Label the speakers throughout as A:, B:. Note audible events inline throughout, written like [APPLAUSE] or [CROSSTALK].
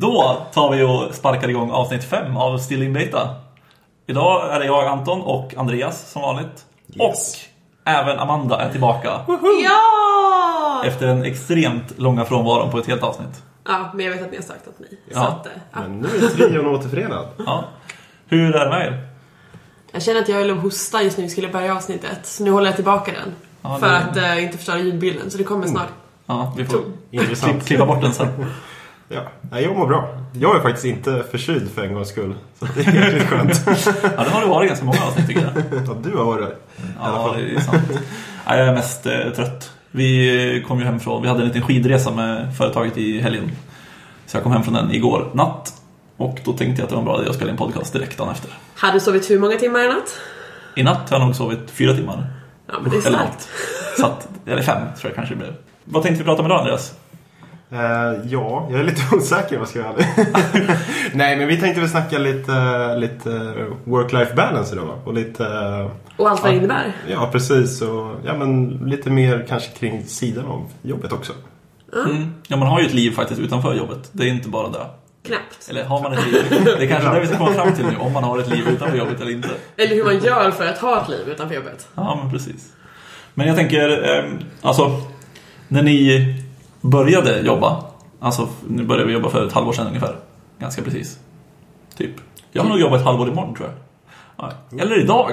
A: Då tar vi och sparkar igång avsnitt 5 av Stilling Beta. Idag är det jag, Anton och Andreas som vanligt.
B: Yes.
A: Och även Amanda är tillbaka.
C: Ja!
A: Efter den extremt långa frånvaron på ett helt avsnitt.
C: Ja, men jag vet att ni har sagt att ni. Så
A: Ja.
C: att, eh, ja.
B: Men nu är trion återförenad.
A: Ja. Hur är det med er?
C: Jag känner att jag höll att hosta just nu vi skulle börja avsnittet. Så nu håller jag tillbaka den.
A: Ja,
C: för
A: det- Oh.
C: att eh, inte förstöra ljudbilden. Så det kommer snart.
A: Ja, vi får klipp,
B: Intressant.
A: klippa bort den sen.
B: Ja. Nej, jag mår bra. Jag är faktiskt inte förkyld för en gångs skull. Så det är jäkligt [LAUGHS] skönt.
A: Ja, det har det varit ganska många avsnitt tycker jag.
B: Att du har varit alla
A: Ja,
B: fall.
A: det är sant. [LAUGHS] Nej, jag är mest eh, trött. Vi eh, kom ju hem från, vi hade en liten skidresa med företaget i helgen. Så jag kom hem från den igår natt. Och då tänkte jag att det var en bra idé att spela in podcast direkt dagen efter.
C: Hade du sovit hur många timmar i natt?
A: I natt har jag nog sovit fyra timmar.
C: Ja, men det är
A: Eller
C: starkt.
A: något. Så att, eller fem tror jag kanske det blev. Vad tänkte vi prata om idag Andreas?
B: Eh, ja, jag är lite [LAUGHS] osäker om jag ska vara ärlig. Nej, men vi tänkte väl snacka lite, lite work-life balance idag. va? Och lite,
C: Och allt vad det
B: Ja.
C: innebär.
B: ja precis. Och ja, men lite mer kanske kring sidan av jobbet [LAUGHS] också.
A: Mm. Ja, man har ju ett liv faktiskt utanför jobbet. Det är inte bara det.
C: Knappt.
A: Eller har man ett
C: [LAUGHS]
A: liv? Det är kanske är det vi ska komma fram till nu, om man har ett liv utanför jobbet eller inte.
C: Eller hur man gör för att ha ett liv utanför jobbet.
A: Ja, men precis. Men jag tänker, eh, alltså, när ni började jobba, alltså nu började vi jobba för ett halvår sedan ungefär, ganska precis. Typ. Jag har nog jobbat ett halvår imorgon tror jag. Ja. Eller idag.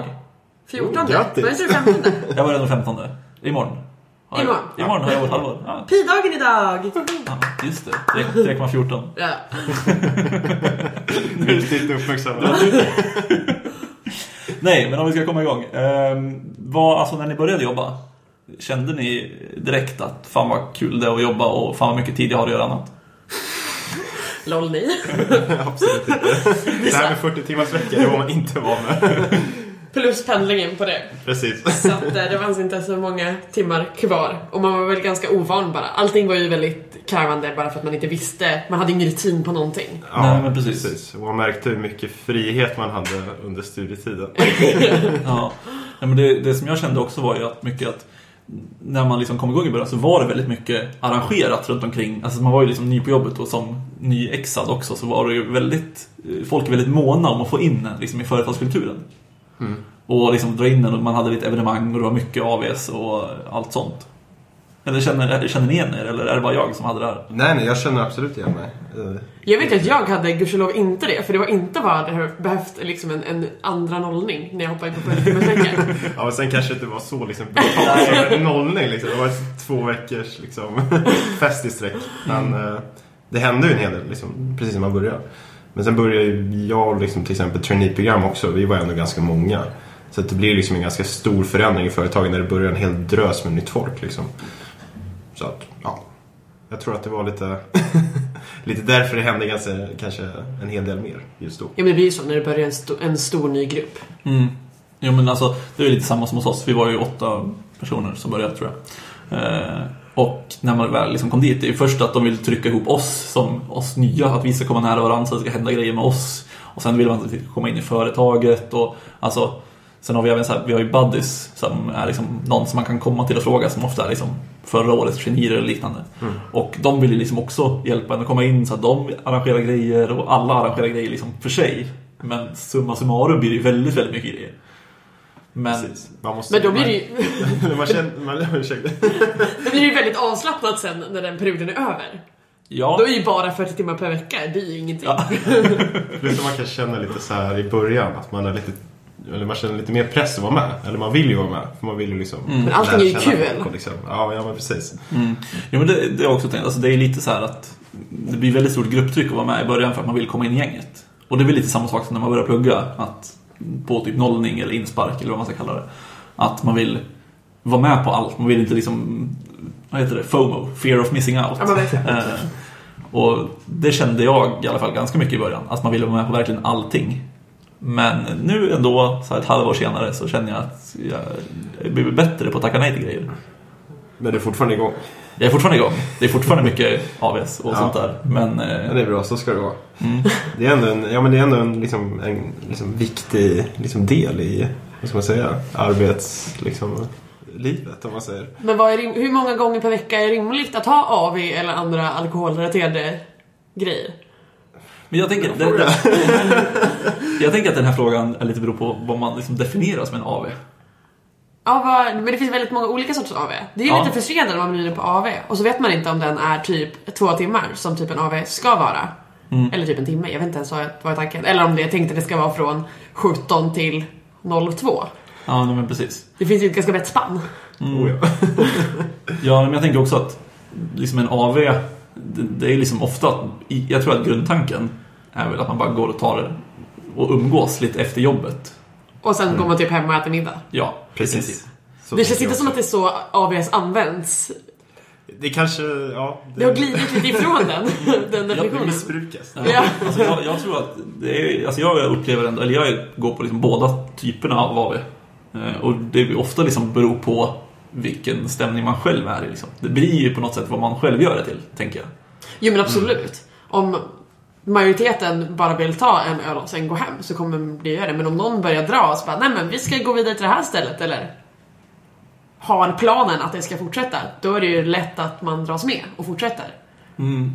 C: 14.
B: Oh, grattis.
C: Var det inte
A: [LAUGHS]
C: det 15?
A: Jag började den 15. Imorgon. Har jag-
C: Imorgon.
A: Imorgon har jag jobbat ett halvår. Ja,
C: Pi-dagen idag!
A: ja, just det. 3,14.
C: Ja.
B: Viktigt att uppmärksamma.
A: Nej, men om vi ska komma igång. Ehm, vad, alltså när ni började jobba, kände ni direkt att fan vad kul det är att jobba och fan vad mycket tid jag har att göra annat?
C: Lol ni.
B: Absolut [LAUGHS] inte. Det här med 40 timmars vecka, det var man inte van med.
C: Plus pendlingen på det.
B: [LAUGHS] Precis.
C: Så att eh, det fanns inte så många timmar kvar. Och man var väl ganska ovan bara. Allting var ju väldigt krävande bara för att man inte visste. Man hade ingen rutin på någonting.
A: Nej, men precis.
B: Och man märkte hur mycket frihet man hade under studietiden.
A: Ja. Nej, men det, det som jag kände också var ju att mycket att när man liksom kom igång i början så var det väldigt mycket arrangerat runt omkring. Alltså man var ju liksom ny på jobbet och som nyexad också så var det ju väldigt, eh, folk är väldigt måna om att få in en liksom i företagskulturen.
B: Mm.
A: Och liksom dra in den och man hade lite evenemang och det var mycket AVs och allt sånt. Eller känner, känner ni igen er eller är det bara jag som hade det här?
B: Nej, nej, jag känner absolut igen mig. Eh,
C: Jag vet ju att jag hade gudskelov inte det. För det var inte vad jag hade behövt liksom en, en andra nollning när jag hoppade in på politikermässäcken.
B: Ja, men sen kanske det inte var så liksom
C: [LAUGHS]
B: brutalt som nollning liksom. Det var ett två veckors liksom, [LAUGHS] fest i sträck. Men
C: Mm.
B: eh, det hände ju en hel del liksom, precis när man började. Men sen började ju jag liksom, till exempel traineeprogram också. Vi var ändå ganska många. Så att det blir liksom en ganska stor förändring i företagen när det börjar en hel drös med nytt folk. Liksom. Så att, ja. Jag tror att det var lite, [LAUGHS] lite därför det hände ganska, kanske en hel del mer just då.
C: Ja men det blir ju så när det börjar en, sto- en stor ny grupp.
A: Mm. Jo men alltså, det är lite samma som hos oss. Vi var ju åtta personer som började tror jag. Eh, och när man väl liksom kom dit, det är ju först att de vill trycka ihop oss som oss nya, att vi ska komma nära varandra så att det ska hända grejer med oss. Och sen vill man komma in i företaget och alltså Sen har vi även så här, vi har ju buddies som är liksom någon som man kan komma till och fråga som ofta är liksom förra årets genier eller liknande.
C: Mm.
A: Och de vill ju liksom också hjälpa en att komma in så att de arrangerar grejer och alla arrangerar grejer liksom för sig. Men summa summarum blir det ju väldigt, väldigt mycket grejer. Men
B: Precis. Man måste,
C: Men då blir det ju, [LAUGHS]
B: [LAUGHS] man, man känner, man, ursäkta.
C: då blir det ju väldigt avslappnat sen när den perioden är över.
A: ja,
C: Då är ju bara 40 timmar per vecka, det är ju ingenting.
A: Ja.
B: Plus att man kan känna lite så här i början att man är lite eller man känner lite mer press att vara med. Eller man vill ju vara med. För man vill ju liksom
C: Mm. Men allting är ju
B: lära känna
C: kul.
B: folk och Liksom. Ja, ja, men precis.
A: mm. jo, men det, det har jag också tänkt. Alltså, det är lite så här att det blir väldigt stort grupptryck att vara med i början för att man vill komma in i gänget. Och det är väl lite samma sak som när man börjar plugga. Att på typ nollning eller inspark eller vad man ska kalla det. Att man vill vara med på allt. Man vill inte liksom, vad heter det, FOMO, fear of missing out.
C: Ja, men verkligen.
A: Eh, och det kände jag i alla fall ganska mycket i början, att man ville vara med på verkligen allting. Men nu ändå, så här ett halvår senare, så känner jag att jag jag blir bättre på att tacka nej till grejer.
B: Men du är fortfarande igång.
A: Jag är fortfarande igång. Det är fortfarande mycket AVS och
B: Ja.
A: sånt där. Men
B: Ja,
A: eh,
B: det är bra. Så ska det vara.
A: Mm.
B: Det är ändå en, ja, men det är ändå en, liksom, en liksom, viktig liksom, del i, vad ska man säga, arbets... Liksom, livet om man säger.
C: Men vad är rim- hur många gånger per vecka är rimligt att ha AV eller andra alkoholrelaterade grejer?
A: Men jag tänker, det, jag tänker att den här frågan är lite beror på vad man liksom definierar som en AV.
C: Ja, vad, men det finns väldigt många olika sorters AV. Det är ju
A: Ja.
C: lite frustrerande när man blir inne på AV och så vet man inte om den är typ två timmar som typ en AV ska vara.
B: Mm.
C: Eller typ en timme, jag vet inte ens vad vad tanken. Eller om det, jag tänkte det ska vara från 17 till 02.
A: Ja, nej, men precis. Mm.
C: Det finns ju ett ganska brett spann.
B: Oh, ja.
A: [LAUGHS] Ja, men jag tänker också att liksom en AV, det, det är liksom ofta, att- jag tror att grundtanken är väl att man bara går och tar det och umgås lite efter jobbet.
C: Och sen går man typ hem och äter middag.
A: Ja,
B: Precis. Så
C: Det
B: Mm.
C: känns
B: tänker jag
C: inte som att
B: också.
C: det är så AVs används.
B: Det kanske, ja.
C: Det har glidit lite ifrån
B: [LAUGHS]
C: den, den
B: det
C: definitionen.
B: missbrukas.
C: Ja.
A: Alltså jag, jag tror att det är, alltså jag upplever ändå, eller jag går på liksom båda typerna av AV. Eh, Och det är ofta liksom beror på vilken stämning man själv är i. Liksom. Det blir ju på något sätt vad man själv gör det till, tänker jag.
C: Jo
A: Mm.
C: men absolut. Om majoriteten bara vill ta en öl och sen gå hem så kommer det göra det. Men om någon börjar dra och så bara, nej men vi ska gå vidare till det här stället eller har en planen att det ska fortsätta. Då är det ju lätt att man dras med och fortsätter.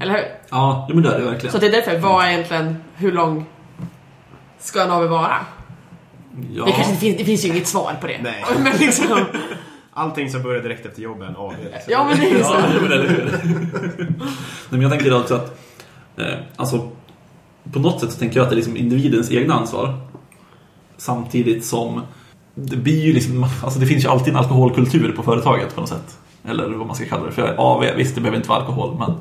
C: Eller hur?
A: Mm. Ja, jo, men det är det verkligen.
C: Så det är därför, vad är egentligen, hur lång ska en AW vara?
A: ja.
C: Det, kanske inte finns, det finns ju inget svar på det.
B: Nej.
C: [LAUGHS] Men liksom,
B: Allting som börjar direkt efter jobbet är en AV. Liksom.
C: ja men det är ju så.
A: Ja, jo, men eller hur. Nej, men jag tänker alltså att, eh, alltså, på något sätt så tänker jag att det är liksom individens egna ansvar. Samtidigt som det blir ju liksom, alltså det finns ju alltid en alkoholkultur på företaget på något sätt. Eller vad man ska kalla det för. AV, visst det behöver inte vara alkohol, men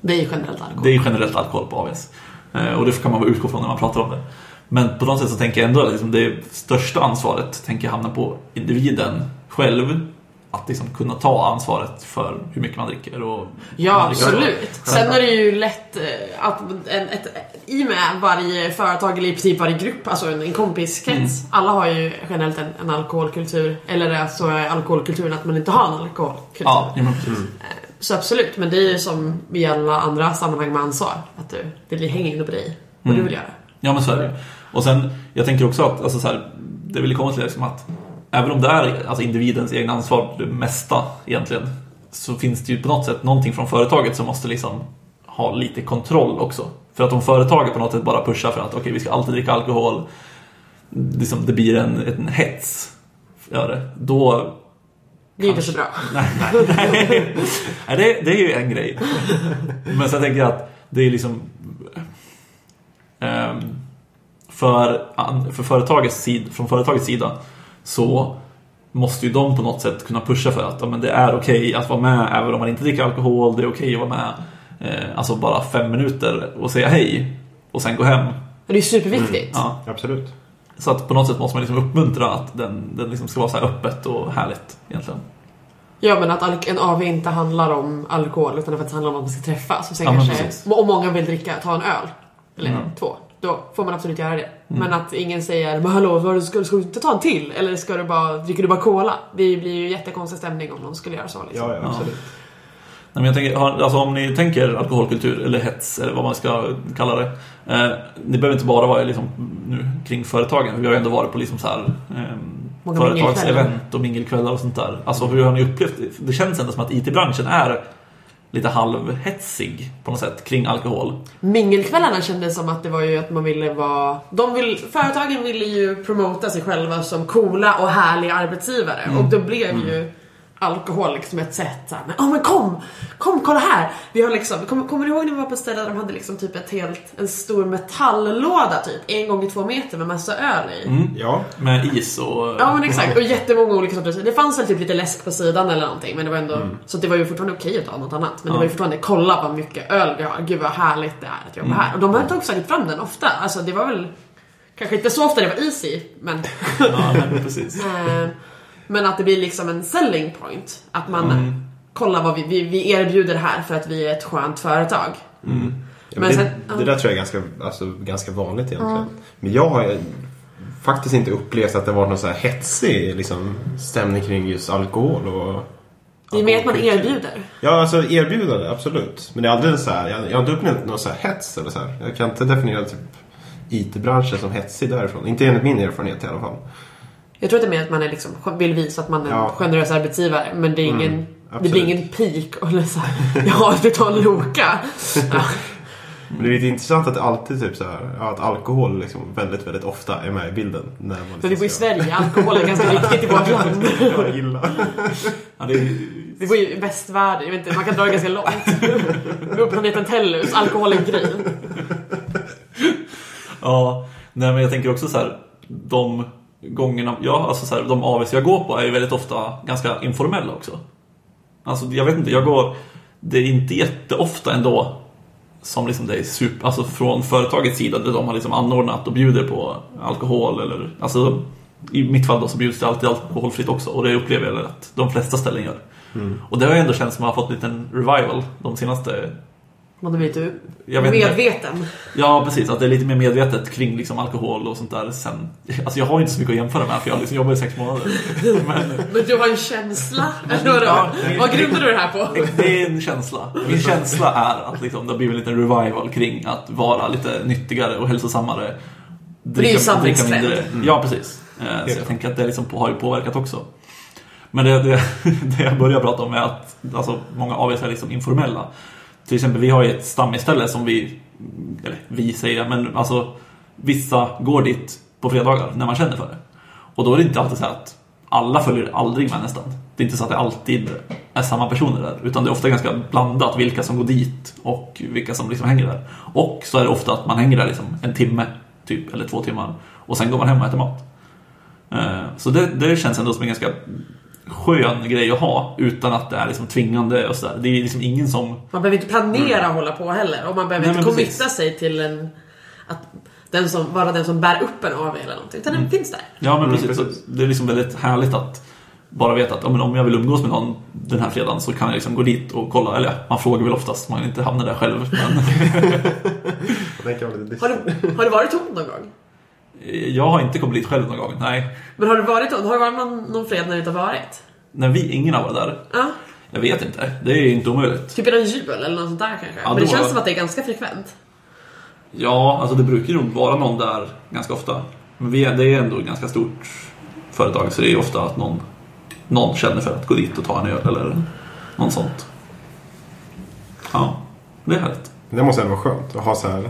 C: Det är ju generellt alkohol.
A: det är ju generellt alkohol på AVs. Eh, Och det kan man väl utgå från när man pratar om det. Men på något sätt så tänker jag ändå att liksom det största ansvaret tänker jag hamna på individen själv. Att liksom kunna ta ansvaret för hur mycket man dricker och
C: Ja, absolut. Sen är det ju lätt eh, att en, ett, i och med varje företag eller i princip varje grupp, alltså en, en kompiskrets, alla har ju generellt en, en alkoholkultur. Eller alltså är alkoholkulturen att man inte har en alkoholkultur.
A: Ja, ja men precis.
C: Så absolut, men det är ju som i alla andra sammanhang med ansvar. Att du, det hänger ändå på dig, vad du vill göra.
A: Ja, men så är det ju. Och sen, jag tänker också att alltså, så här, det vill komma till liksom att även om det är alltså, individens egna ansvar det mesta egentligen så finns det ju på något sätt någonting från företaget som måste liksom ha lite kontroll också. För att om företaget på något sätt bara pushar för att okej, vi ska alltid dricka alkohol, liksom, det blir en, en hets, gör det, då
C: Det är ju inte så bra.
A: Nej, det, det är ju en grej. Men sen tänker jag att det är liksom... ehm, för, an- för företagets sid, från företagets sida så måste ju de på något sätt kunna pusha för att ja, men det är okej att vara med även om man inte dricker alkohol. Det är okej att vara med eh, alltså bara fem minuter och säga hej och sen gå hem.
C: Det är ju superviktigt.
A: Ja.
B: Absolut.
A: Så att på något sätt måste man liksom uppmuntra att den, den liksom ska vara så här öppet och härligt egentligen.
C: Ja men att alk- en AV inte handlar om alkohol utan det faktiskt handlar om att man ska träffas. Och sen
A: Ja, men precis. Mm.
C: kanske, om många vill dricka, ta en öl. Eller två. Då får man absolut göra det. Men att ingen säger men hallå, vad ska, ska du inte ta en till? Eller ska du bara, dricker du bara cola? Det blir ju jättekonstig stämning om någon skulle göra så. Liksom.
B: Ja, ja, absolut.
A: Nej, men jag tänker, har- alltså om ni tänker alkoholkultur eller hets eller vad man ska kalla det. Eh, det behöver inte bara vara liksom, nu, kring företagen. Vi har ju ändå varit på liksom så här, eh,
C: Många
A: företagsevent
C: mingelkvällar.
A: och mingelkvällar och sånt där. Alltså hur har ni upplevt det? Det känns ändå som att IT-branschen är lite halvhetsig på något sätt kring alkohol.
C: Mingelkvällarna kändes som att det var ju att man ville vara... De vill, företagen ville ju promota sig själva som coola och härliga arbetsgivare. Och då blev ju alkohol liksom ett sätt såhär, men, oh, men kom! Kom kolla här! Vi har liksom, kom, kommer du ihåg när vi var på ett ställe där de hade liksom typ ett helt, en stor metalllåda typ, en gång i två meter med massa öl i?
B: Ja,
A: Med is och...
C: Ja men exakt, och jättemånga olika sorters. Det fanns väl typ lite läsk på sidan eller någonting men det var ändå, så det var ju fortfarande okej att ha något annat. Men det var ju fortfarande, kolla vad mycket öl vi har, gud vad härligt det är att jobba här. Och de tog säkert fram den ofta, alltså det var väl Kanske inte så ofta det var is i, men,
A: ja men precis.
C: eh, men att det blir liksom en selling point. Att man kollar vad vi, vi, vi erbjuder det här för att vi är ett skönt företag.
B: Ja,
C: Men
B: men det,
C: sen- ja.
B: det där tror jag är ganska, alltså, ganska vanligt egentligen. Men jag har ju faktiskt inte upplevt att det varit någon så här hetsig liksom, stämning kring just alkohol. Och,
C: Det är mer att man erbjuder.
B: ja, alltså erbjudande, absolut. Men det är aldrig så här, jag, jag har inte upplevt någon så här hets eller så här. Jag kan inte definiera typ IT-branschen som hetsig därifrån. Inte enligt min erfarenhet i alla fall.
C: Jag tror att det är mer att man är liksom, vill visa att man är en
B: Ja.
C: generös arbetsgivare men det, är ingen,
A: Mm,
C: det blir
B: absolut.
C: [LAUGHS] ingen pik och eller så här, ja du tar en Loka. Ja.
B: Men det är lite intressant att det alltid typ så här, ja, att alkohol liksom väldigt, väldigt ofta är med i bilden. När man
C: För vi bor i
B: liksom
C: Sverige, alkohol är ganska viktigt i vårt land.
B: ska- [LAUGHS] Ja, illa.
A: Ja, det är,
C: Vi bor ju i västvärlden, jag vet inte, man kan dra det ganska långt. Vi bor på planeten Tellus, alkohol är en grej.
A: ja, nej, men jag tänker också så här, de gångerna, ja, alltså så här, de AVs jag går på är ju väldigt ofta ganska informella också. Alltså jag vet inte, jag går, det är inte jätteofta ändå som liksom det är super, alltså från företagets sida där de har liksom anordnat och bjuder på alkohol eller, alltså i mitt fall då så bjuds det alltid alkoholfritt också och det upplever jag väl att de flesta ställen gör. Och det har ju ändå känts som att man har fått en liten revival de senaste
C: Man har blivit ju
A: jag vet inte.
C: medveten.
A: Ja, precis. Att det är lite mer medvetet kring liksom alkohol och sånt där sen. Alltså jag har ju inte så mycket att jämföra med för jag liksom jobbar i sex månader. Men
C: Men du har en känsla, eller vadå? Vad grundar du det här på?
A: det är en känsla. Min känsla är att liksom, det har blivit en liten revival kring att vara lite nyttigare och hälsosammare.
C: ju samlingstrend.
A: Ja, precis. Eh, Så jag tänker att det liksom på- har ju påverkat också. Men det, det, [LAUGHS] det jag börjar prata om är att alltså, många AVs är liksom informella. Till exempel, vi har ju ett stammisställe som vi, eller vi säger jag, men alltså vissa går dit på fredagar när man känner för det. Och då är det inte alltid så här att alla följer aldrig med nästan. Det är inte så att det alltid är samma personer där, utan det är ofta ganska blandat vilka som går dit och vilka som liksom hänger där. Och så är det ofta att man hänger där liksom en timme, typ, eller två timmar, och sen går man hem och äter mat. Eh, Så det, det känns ändå som en ganska skön grej att ha utan att det är liksom tvingande och sådär. Det är liksom ingen som...
C: Man behöver inte planera att hålla på heller och man behöver
A: Mm. Nej,
C: inte
A: men
C: committa
A: precis.
C: sig till en, att den som, vara den som bär upp en AV eller någonting. Utan den finns där.
A: Ja men
B: Mm,
A: precis, så
B: precis.
A: det är liksom väldigt härligt att bara veta att ja, men om jag vill umgås med någon den här fredagen så kan jag liksom gå dit och kolla. Eller ja, man frågar väl oftast, man inte hamnar där själv. Men [LAUGHS]
B: Jag tänker vara lite
C: Har
B: dyster.
C: du, har du varit tom någon gång?
A: eh, jag har inte kommit dit själv någon gång, nej.
C: Men har du varit tom? Har du varit någon, någon fredag när du inte har varit?
A: När vi, ingen har varit där.
C: Ja.
A: Jag vet inte, det är ju inte omöjligt.
C: Typ innan jul eller något sånt där kanske.
A: Ja,
C: Men det
A: då-
C: känns som att det är ganska frekvent.
A: Ja, alltså det brukar ju nog vara någon där ganska ofta. Men vi är, det är ändå ett ganska stort företag så det är ju ofta att någon, någon känner för att gå dit och ta en öl eller något sånt. Ja, det är härligt.
B: Det måste ändå vara skönt att ha så här,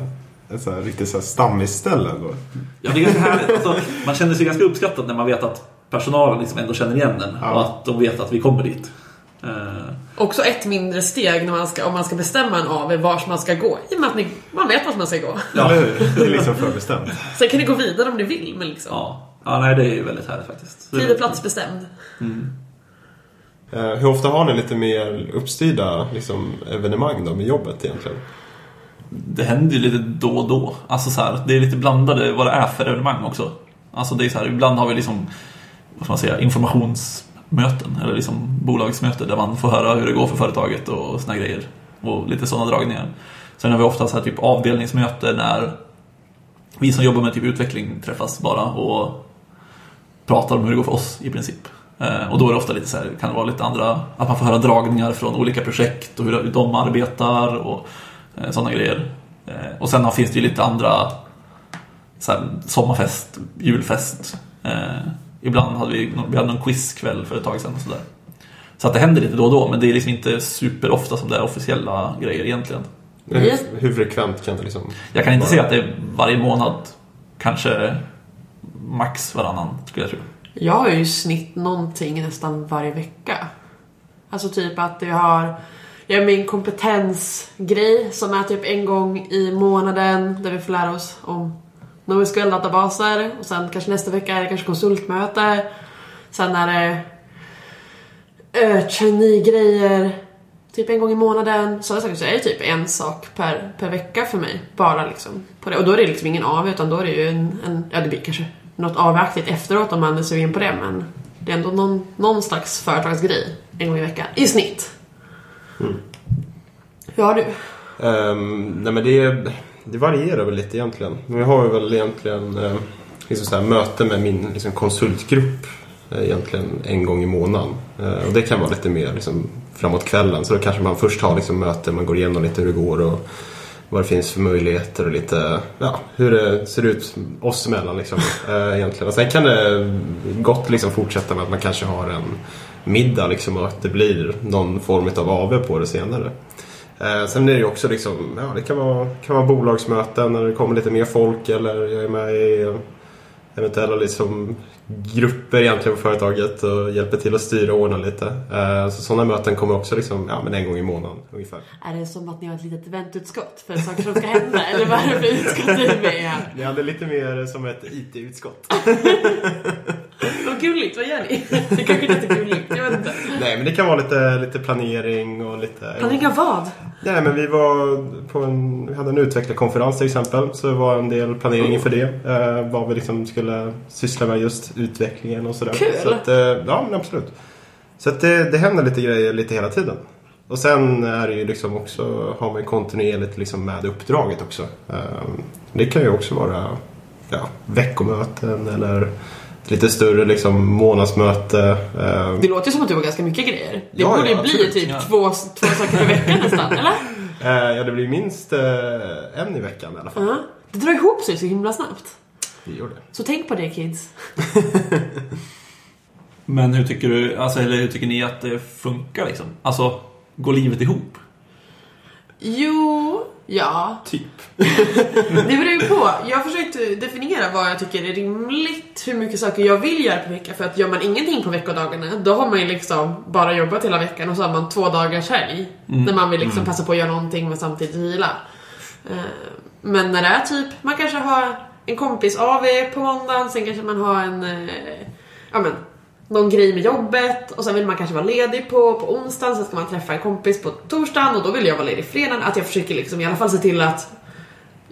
B: ett så här riktigt så här stammisställe. Då.
A: Ja, det är ganska härligt. Alltså, man känner sig ganska uppskattad när man vet att personalen liksom ändå känner igen den
B: Ja.
A: och att de vet att vi kommer dit. Eh,
C: Också ett mindre steg när man ska, om man ska bestämma en AV vars man ska gå. I och med att ni, man vet vart man ska gå.
A: Ja.
B: Eller hur? Det är liksom förbestämt.
C: Sen kan ni gå vidare om ni vill, men liksom.
A: ja. ja, nej det är ju väldigt härligt faktiskt.
C: Tid och plats bestämd.
B: Eh, Hur ofta har ni lite mer uppstyrda liksom, evenemang då med jobbet egentligen?
A: Det händer ju lite då och då. Alltså så här, det är lite blandade vad det är för evenemang också. Alltså det är så här, ibland har vi liksom, vad ska man säga, informationsmöten eller liksom bolagsmöte där man får höra hur det går för företaget och såna grejer. Och lite sådana dragningar. Sen har vi ofta så här typ avdelningsmöte när vi som jobbar med typ utveckling träffas bara och pratar om hur det går för oss i princip. Eh, Och då är det ofta lite så här, kan det vara lite andra, att man får höra dragningar från olika projekt och hur de arbetar och sådana grejer. Eh, Och sen har- finns det ju lite andra så här, sommarfest, julfest. Eh, ibland hade vi, vi hade någon quizkväll för ett tag sedan och sådär. Så att det händer lite då och då, men det är liksom inte superofta som det är officiella grejer egentligen.
C: Mm.
B: Hur, hur frekvent kan det liksom...
A: Jag kan inte
B: vara?
A: säga att det är varje månad, kanske max varannan skulle jag tro.
C: Jag har ju i snitt någonting nästan varje vecka. Alltså typ att jag har jag har min kompetensgrej som är typ en gång i månaden där vi får lära oss om NoSQL-databaser och sen kanske nästa vecka är det kanske konsultmöte. Sen är det eh, trainee-grejer typ en gång i månaden. Sådana saker. Så är det typ en sak per, per vecka för mig. Bara liksom. På det. Och då är det liksom ingen AV utan då är det ju en, en ja det blir kanske något avaktigt efteråt om man är sugen på det men det är ändå någon, någon slags företagsgrej en gång i veckan. I snitt. Hur har du?
B: Ehm, nej men det, det varierar väl lite egentligen. Men vi har ju väl egentligen eh, liksom så här, möte med min liksom, konsultgrupp eh, egentligen en gång i månaden. Eh, och det kan vara lite mer liksom, framåt kvällen. Så då kanske man först har liksom, möte, man går igenom lite hur det går och vad det finns för möjligheter och lite ja, hur det ser ut oss emellan. Liksom, eh, egentligen. Och sen kan det gott liksom, fortsätta med att man kanske har en middag liksom, och att det blir någon form av AV på det senare. Eh, Eh, sen är det ju också liksom, ja det kan vara, kan vara bolagsmöten när det kommer lite mer folk eller jag är med i eh, eventuella liksom grupper egentligen på företaget och hjälper till att styra och ordna lite. Eh, så sådana möten kommer också liksom, ja men en gång i månaden ungefär.
C: Är det som att ni har ett litet eventutskott för saker som ska hända? [LAUGHS] Eller vad är det för utskott ni är med i här?
B: Ja, det är lite mer som ett IT-utskott.
C: Vad gulligt, vad gör ni? Det kanske inte är så gulligt, jag vet inte.
B: Nej, men det kan vara lite, lite planering och lite...
C: Planering av vad?
B: Nej, men vi var på en, vi hade en utvecklarkonferens till exempel. Så det var en del planering inför det. Eh, vad vi liksom skulle syssla med just utvecklingen och sådär.
C: Kul!
B: Så att, eh, ja, men absolut. Så att det, det händer lite grejer lite hela tiden. Och sen är det ju liksom också, har man ju kontinuerligt liksom med uppdraget också. Eh, det kan ju också vara ja, veckomöten eller ett lite större liksom månadsmöte. Eh,
C: Det låter ju som att du har ganska mycket grejer. Det
B: Ja, ja,
C: borde ju bli
B: absolut,
C: typ
A: ja.
C: två, två saker i veckan
B: [LAUGHS]
C: nästan, eller?
B: Eh, ja, det blir minst eh, en i veckan i alla fall.
C: Ja. Det drar ihop sig så himla snabbt.
B: Det gör det.
C: Så tänk på det kids.
A: Men hur tycker du, alltså, eller hur tycker ni att det funkar liksom? Alltså, går livet ihop?
C: Jo, ja,
A: Typ.
C: [LAUGHS] Det beror ju på. Jag försökte definiera vad jag tycker är rimligt, hur mycket saker jag vill göra på veckan. För att gör man ingenting på veckodagarna, då har man ju liksom bara jobbat hela veckan och så har man två dagars helg.
B: Mm.
C: När man vill liksom passa på att göra någonting men samtidigt vila. Eh, Men när det är typ, man kanske har en kompis av er på måndagen, sen kanske man har en, eh, ja men, någon grej med jobbet och sen vill man kanske vara ledig på, på onsdagen, sen ska man träffa en kompis på torsdagen och då vill jag vara ledig fredagen. Att jag försöker liksom i alla fall se till att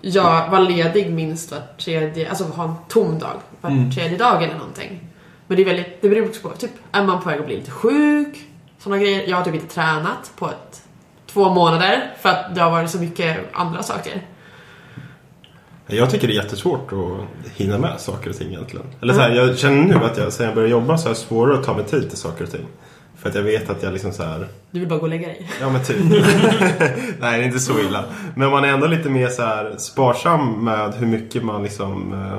C: jag var ledig minst var tredje, alltså ha en tom dag var tredje dag eller någonting. Men det är väldigt, det beror också på, typ är man på väg att bli lite sjuk? Sådana grejer. Jag har typ inte tränat på ett, två månader för att det har varit så mycket andra saker.
B: Jag tycker det är jättesvårt att hinna med saker och ting egentligen. Eller så här,
C: Mm.
B: jag känner nu att jag, sen jag började jobba så är det svårare att ta mig tid till saker och ting. För att jag vet att jag liksom så här,
C: Du vill bara gå och lägga dig.
B: ja men typ. [LAUGHS] Nej, det är inte så illa. Men man är ändå lite mer så här sparsam med hur mycket man liksom eh,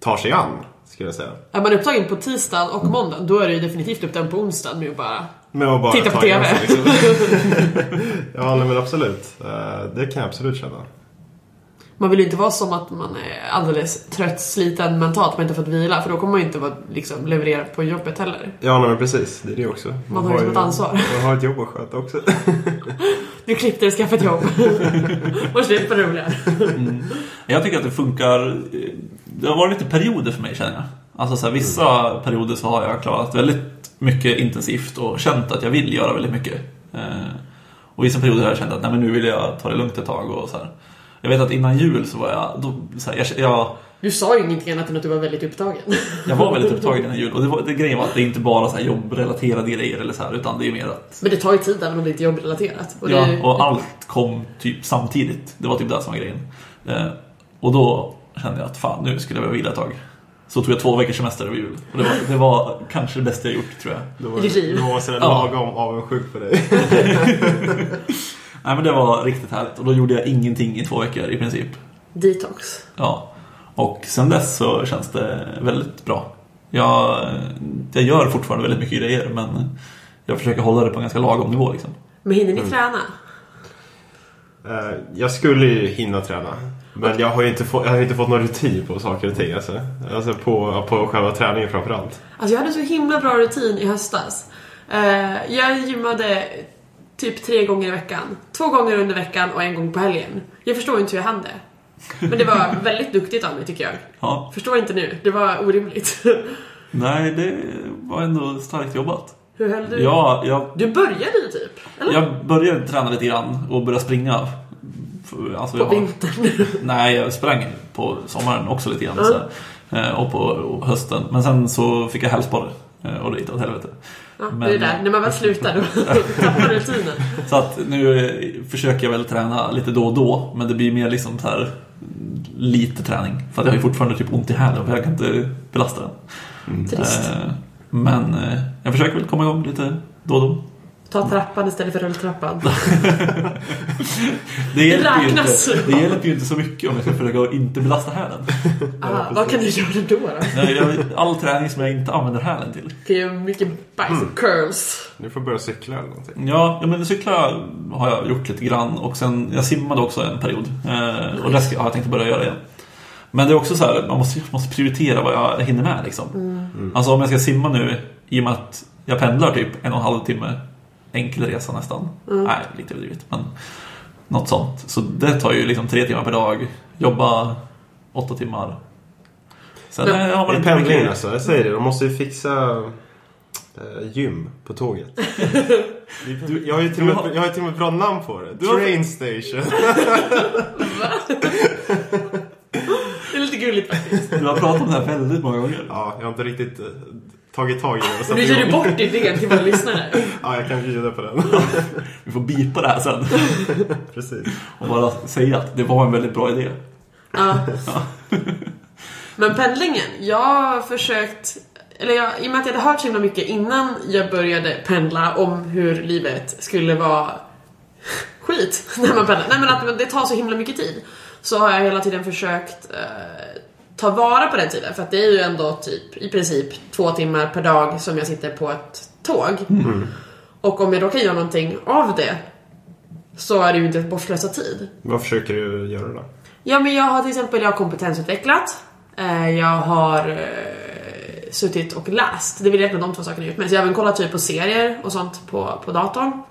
B: tar sig an, skulle jag säga.
C: Är man upptagen på tisdag och måndag, då är det ju definitivt upptagen på onsdag med att bara...
B: Med att bara
C: Titta på
B: ta
C: TV.
B: gränsen, Liksom. [LAUGHS] ja, nej, men absolut. Eh, Det kan jag absolut känna.
C: Man vill ju inte vara som att man är alldeles trött, sliten mentalt men inte fått vila för då kommer man ju inte vara, liksom, leverera på jobbet heller.
B: Ja, nej, men precis. Det är det också. Man,
C: har liksom ett ansvar.
B: Man har ett jobb att sköta också.
C: Du klippte dig och skaffade ett jobb. och slut på det roliga.
A: Jag tycker att det funkar. eh, Det har varit lite perioder för mig känner jag. Alltså så här, vissa perioder så har jag klarat väldigt mycket intensivt och känt att jag vill göra väldigt mycket. Eh, Och vissa perioder har jag känt att nej, men nu vill jag ta det lugnt ett tag och så här. Jag vet att innan jul så var jag, då, så här, jag, jag,
C: Du sa ju ingenting annat än att du var väldigt upptagen.
A: jag var väldigt upptagen innan jul. Och det var, det, grejen var att det är inte bara så här jobbrelaterade grejer eller så här, utan det är mer att
C: Men det tar ju tid även om det inte är jobbrelaterat. Och det är ju-
A: ja, och allt kom typ samtidigt. Det var typ det som var grejen. Eh, och då kände jag att fan, nu skulle jag behöva vila ett tag. Så tog jag två veckors semester över jul. Och det var, det var kanske det bästa jag gjort, tror jag.
B: Då
C: I ditt liv.
B: Då var jag sådär
A: Ja.
B: lagom avundsjuk på dig.
A: Nej, men det var riktigt härligt. Och då gjorde jag ingenting i två veckor i princip.
C: Detox.
A: Ja. Och sen dess så känns det väldigt bra. Jag, jag gör fortfarande väldigt mycket grejer, men jag försöker hålla det på en ganska lagom nivå. Liksom.
C: Men hinner ni träna?
B: Eh, jag skulle ju hinna träna. Men jag har ju inte, få, jag har ju inte fått någon rutin på saker och ting. Alltså, alltså på, på själva träningen framförallt.
C: Alltså jag hade så himla bra rutin i höstas. Eh, jag gymmade typ tre gånger i veckan. Två gånger under veckan och en gång på helgen. Jag förstår inte hur jag hann det. Men det var väldigt duktigt av mig tycker jag.
A: Ja.
C: Förstår inte nu, det var orimligt. [LAUGHS]
A: Nej, det var ändå starkt jobbat.
C: hur höll du?
A: Jag, jag
C: Du började ju typ, eller?
A: Jag började träna lite grann och började springa. För- Alltså
C: På
A: jag, har-
C: vintern. [LAUGHS]
A: nej, jag sprang på sommaren också lite grann. Så här. Eh, Och på och hösten. Men sen så fick jag hälsporre. eh, Och det gick åt helvete.
C: Ja, det är
A: Men-
C: där, när man väl slutar då tappar rutinen.
A: Så att nu eh, försöker jag väl träna lite då och då. Men det blir mer liksom så här lite träning. För att jag har ju fortfarande typ ont i hälen för jag kan inte belasta den.
C: Trist.
A: Eh, Men eh, jag försöker väl komma igång lite då och då.
C: Ta trappan istället för rulltrappan.
A: Det hjälper, ju
C: räknas.
A: inte, det hjälper ju inte så mycket om jag ska försöka att inte belasta hälen.
C: Ah, vad kan du göra då? då?
A: Nej, jag- All träning som jag inte använder hälen till.
C: Du kan göra mycket bajs och curls.
B: Du får börja cykla eller någonting.
A: Ja, ja men cykla har jag gjort lite grann och sen jag simmade också en period. Eh, och det ska, har jag tänkt börja göra igen. Men det är också så här, man måste, måste prioritera vad jag hinner med liksom. Alltså om jag ska simma nu, i och med att jag pendlar typ en och en halv timme enkel resa nästan. Nej, lite överdrivet men något sånt. Så det tar ju liksom tre timmar per dag, jobba åtta timmar. Sen
C: Men-
A: eh, har man
B: I
A: inte
B: pendlingen
A: mycket...
B: alltså, jag säger det. De måste ju fixa eh, gym på tåget. Du, jag, har ju till och
A: Du har-
B: med, jag har ju till och med ett bra namn på det.
A: Du har-
B: Train station.
C: Det är lite gulligt faktiskt.
A: Du har pratat om det här väldigt många gånger.
B: [LAUGHS] Ja, jag har inte riktigt eh, tagit tag i det. och satt
C: [LAUGHS] Nu ger du
B: igång.
C: bort din idé till våra lyssnare.
B: Ja, jag kan bjuda på den. [LAUGHS]
A: Vi får bipa det här sen.
B: Precis.
A: Och bara säga att det var en väldigt bra idé.
C: Ja. Men pendlingen, jag har försökt... Eller jag, i och med att jag hade hört så himla mycket innan jag började pendla om hur livet skulle vara [LAUGHS] skit [LAUGHS] när man pendlar. Nej men att det tar så himla mycket tid. Så har jag hela tiden försökt eh, ta vara på den tiden. För att det är ju ändå typ i princip två timmar per dag som jag sitter på ett tåg. Och om jag då kan göra någonting av det så är det ju inte ett bortslösat tid.
B: Vad försöker du göra då?
C: Ja men jag har till exempel jag har kompetensutvecklat. Eh, Jag har eh, suttit och läst. Det är väl egentligen de två sakerna jag gjort mest. Jag har även kollat typ på serier och sånt på, på datorn.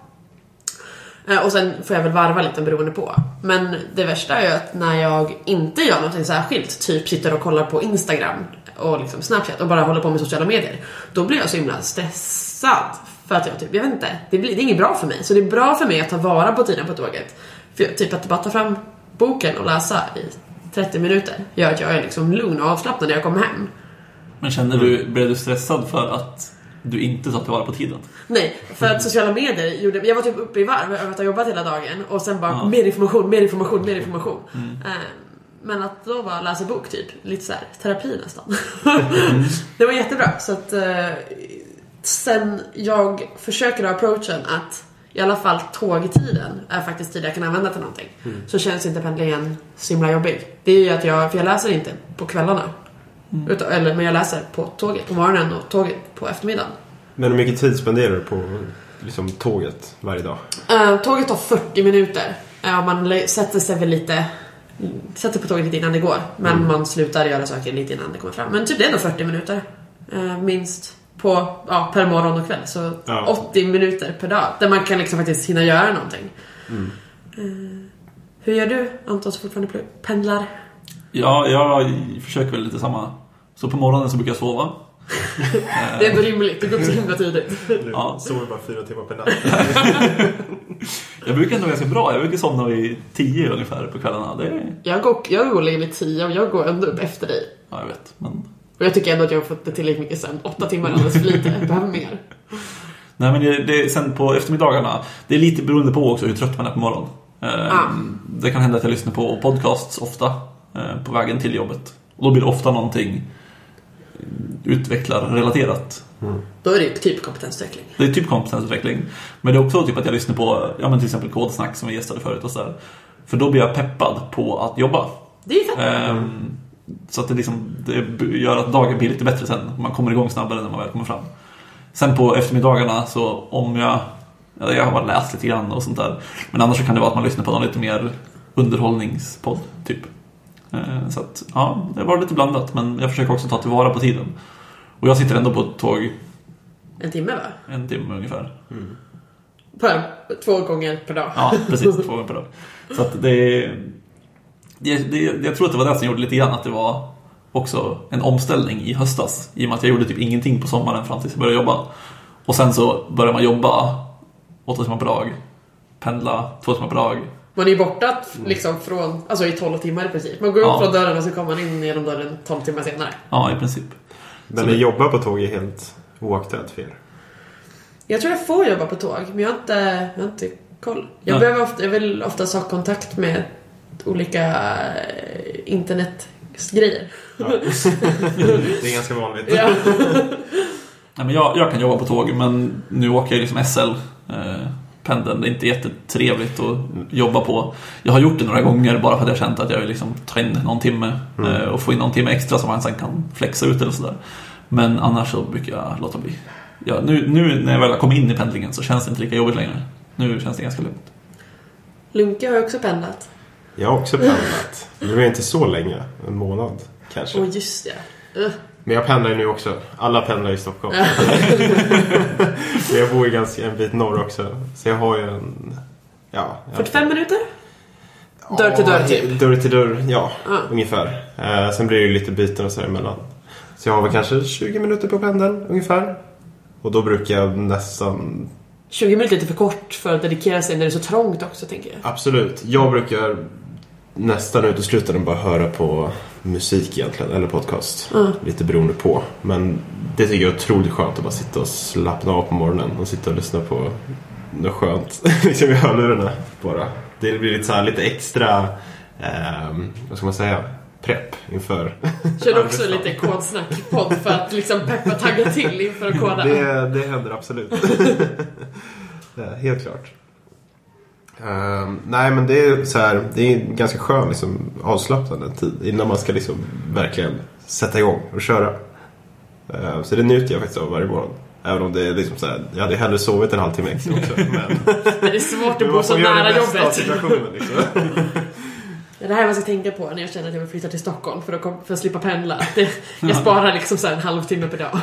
C: Eh, Och sen får jag väl varva lite beroende på. Men det värsta är ju att när jag inte gör någonting särskilt, typ sitter och kollar på Instagram och liksom Snapchat och bara håller på med sociala medier. Då blir jag så himla stressad. För att jag typ, jag vet inte, det, blir, det är inget bra för mig. Så det är bra för mig att ta vara på tiden på tåget. För jag, typ att bara ta fram boken och läsa i 30 minuter gör att jag är liksom lugn och avslappnad när jag kommer hem.
A: Men känner du, blev du stressad för att du inte tar tillvara på tiden?
C: Nej, för att sociala medier gjorde... Jag var typ uppe i varv över att ha jobbat hela dagen och sen bara
A: Ja.
C: mer information, mer information, mer information. Eh, Men att då bara läsa bok typ, lite så här, terapi nästan. [LAUGHS] det var jättebra. Så att eh, sen jag försöker ha approachen att i alla fall tågtiden är faktiskt tid jag kan använda till någonting. Så känns inte pendlingen så himla jobbig. Det är ju att jag, för jag läser inte på kvällarna. Utan, eller, men jag läser på tåget på morgonen och tåget på eftermiddagen.
B: Men hur mycket tid spenderar du på liksom, tåget varje dag?
C: Eh, tåget tar 40 minuter. Eh, och man le- sätter sig väl lite... Sätter på tåget lite innan det går. Men man slutar göra saker lite innan det kommer fram. Men typ det är nog 40 minuter. eh, minst. På, ja, per morgon och kväll. Så
B: Ja.
C: 80 minuter per dag. Där man kan liksom faktiskt hinna göra någonting. Eh, hur gör du Anton som fortfarande pl- pendlar?
A: Ja, jag försöker väl lite samma. Så på morgonen så brukar jag sova.
C: Det är ändå rimligt. Du går upp så himla tidigt.
B: Du
A: Ja.
B: sover bara fyra timmar per natt.
A: Jag brukar ändå ganska bra. Jag brukar somna vid 10 ungefär på kvällarna. Det är,
C: Jag går, jag går och lägger mig 10 och jag går ändå upp efter dig.
A: ja, jag vet. Men,
C: Och jag tycker ändå att jag har fått det tillräckligt mycket sen. 8 timmar är alldeles för lite. Jag behöver mer.
A: nej, men det, det, sen på eftermiddagarna, det är lite beroende på också hur trött man är på morgonen. Ehm,
C: Ah.
A: Det kan hända att jag lyssnar på podcasts ofta eh, på vägen till jobbet. Och då blir det ofta någonting utvecklarrelaterat.
C: Då är det ju typ kompetensutveckling.
A: Det är typ kompetensutveckling. Men det är också typ att jag lyssnar på ja, men till exempel Kodsnack som vi gästade förut och sådär. För då blir jag peppad på att jobba.
C: Det är ju fett.
A: Ehm, så att det, liksom, det b- gör att dagen blir lite bättre sen. Man kommer igång snabbare när man väl kommer fram. Sen på eftermiddagarna så om jag... ja, Jag har bara läst lite grann och sånt där. Men annars så kan det vara att man lyssnar på någon lite mer underhållningspodd, typ. Ehm, så att, ja, det var lite blandat. Men jag försöker också ta tillvara på tiden. Och jag sitter ändå på ett tåg
C: En timme va?
A: en timme ungefär.
C: Per, två gånger per dag.
A: Ja, precis. Två gånger per dag. Så att det, det, det... Jag tror att det var det som gjorde lite grann att det var också en omställning i höstas. I och med att jag gjorde typ ingenting på sommaren fram tills jag började jobba. Och sen så började man jobba åtta timmar per dag, pendla två timmar per dag.
C: Man är ju borta liksom från, alltså i 12 timmar i princip. Man går upp
A: Ja.
C: från dörren och så kommer man in genom dörren 12 timmar senare.
A: Ja, i princip.
B: [LAUGHS] Men att jobba på tåg är helt oaktuellt för er.
C: Jag tror jag får jobba på tåg, men jag har inte, jag har inte koll. Jag,
A: Nej.
C: behöver ofta, jag vill oftast ha kontakt med olika eh, internetgrejer.
B: Det är ganska vanligt.
C: Ja.
A: Nej, men jag, jag kan jobba på tåg, men nu åker jag liksom SL eh, pendeln. Det är inte jättetrevligt att jobba på. Jag har gjort det några gånger bara för att jag känt att jag vill liksom ta in någon timme eh, och få in någon timme extra som man sen kan flexa ut eller sådär. Men annars så brukar jag låta bli. Ja, nu, nu när jag väl har kommit in i pendlingen så känns det inte lika jobbigt längre. Nu känns det ganska lugnt. [LAUGHS]
C: Lunke har ju också pendlat.
B: Jag har också pendlat. Det var inte så länge. En månad kanske.
C: Åh, just det. Ugh.
B: Men jag pendlar ju nu också. Alla pendlar i Stockholm. [LAUGHS] Men jag bor ju ganska en bit norr också. Så jag har ju en... Ja, jag-
C: 45 minuter? Dörr till dörr,
B: Ja,
C: typ.
B: Dörr till dörr, ja.
C: Ja.
B: Ungefär. Eh, sen blir det ju lite byten och sådär emellan. Så jag har väl kanske 20 minuter på pendeln ungefär. Och då brukar jag nästan...
C: 20 minuter är lite för kort för att dedikera sig när det är så trångt också, tänker jag.
B: Absolut. Jag brukar nästan uteslutande bara höra på musik egentligen, eller podcast. Lite beroende på. Men det tycker jag är otroligt skönt att bara sitta och slappna av på morgonen och sitta och lyssna på något skönt. [LAUGHS] liksom i hörlurarna bara. Det blir lite, så här, lite extra, ehm, vad ska man säga, prepp inför.
C: Kör också lite kodsnack-podd för att liksom peppa tagga till inför att koda.
B: Det, det händer [LAUGHS] absolut. Det är Helt klart. Ehm, nej men det är så här, det är en ganska skön liksom, avslappnande tid innan man ska liksom verkligen sätta igång och köra. Ehm, så det njuter jag faktiskt av varje morgon. Även om det är liksom så här, jag hade hellre sovit en halvtimme extra [LAUGHS] också. Men,
C: Det är svårt att bo
B: man
C: så
B: får göra det
C: nära
B: bästa av
C: jobbet.
B: situationen, [LAUGHS] Liksom.
C: Det är det här man ska tänka på när jag känner att jag vill flytta till Stockholm för att, kom, för att slippa pendla. Det, jag sparar liksom så här en halvtimme per dag.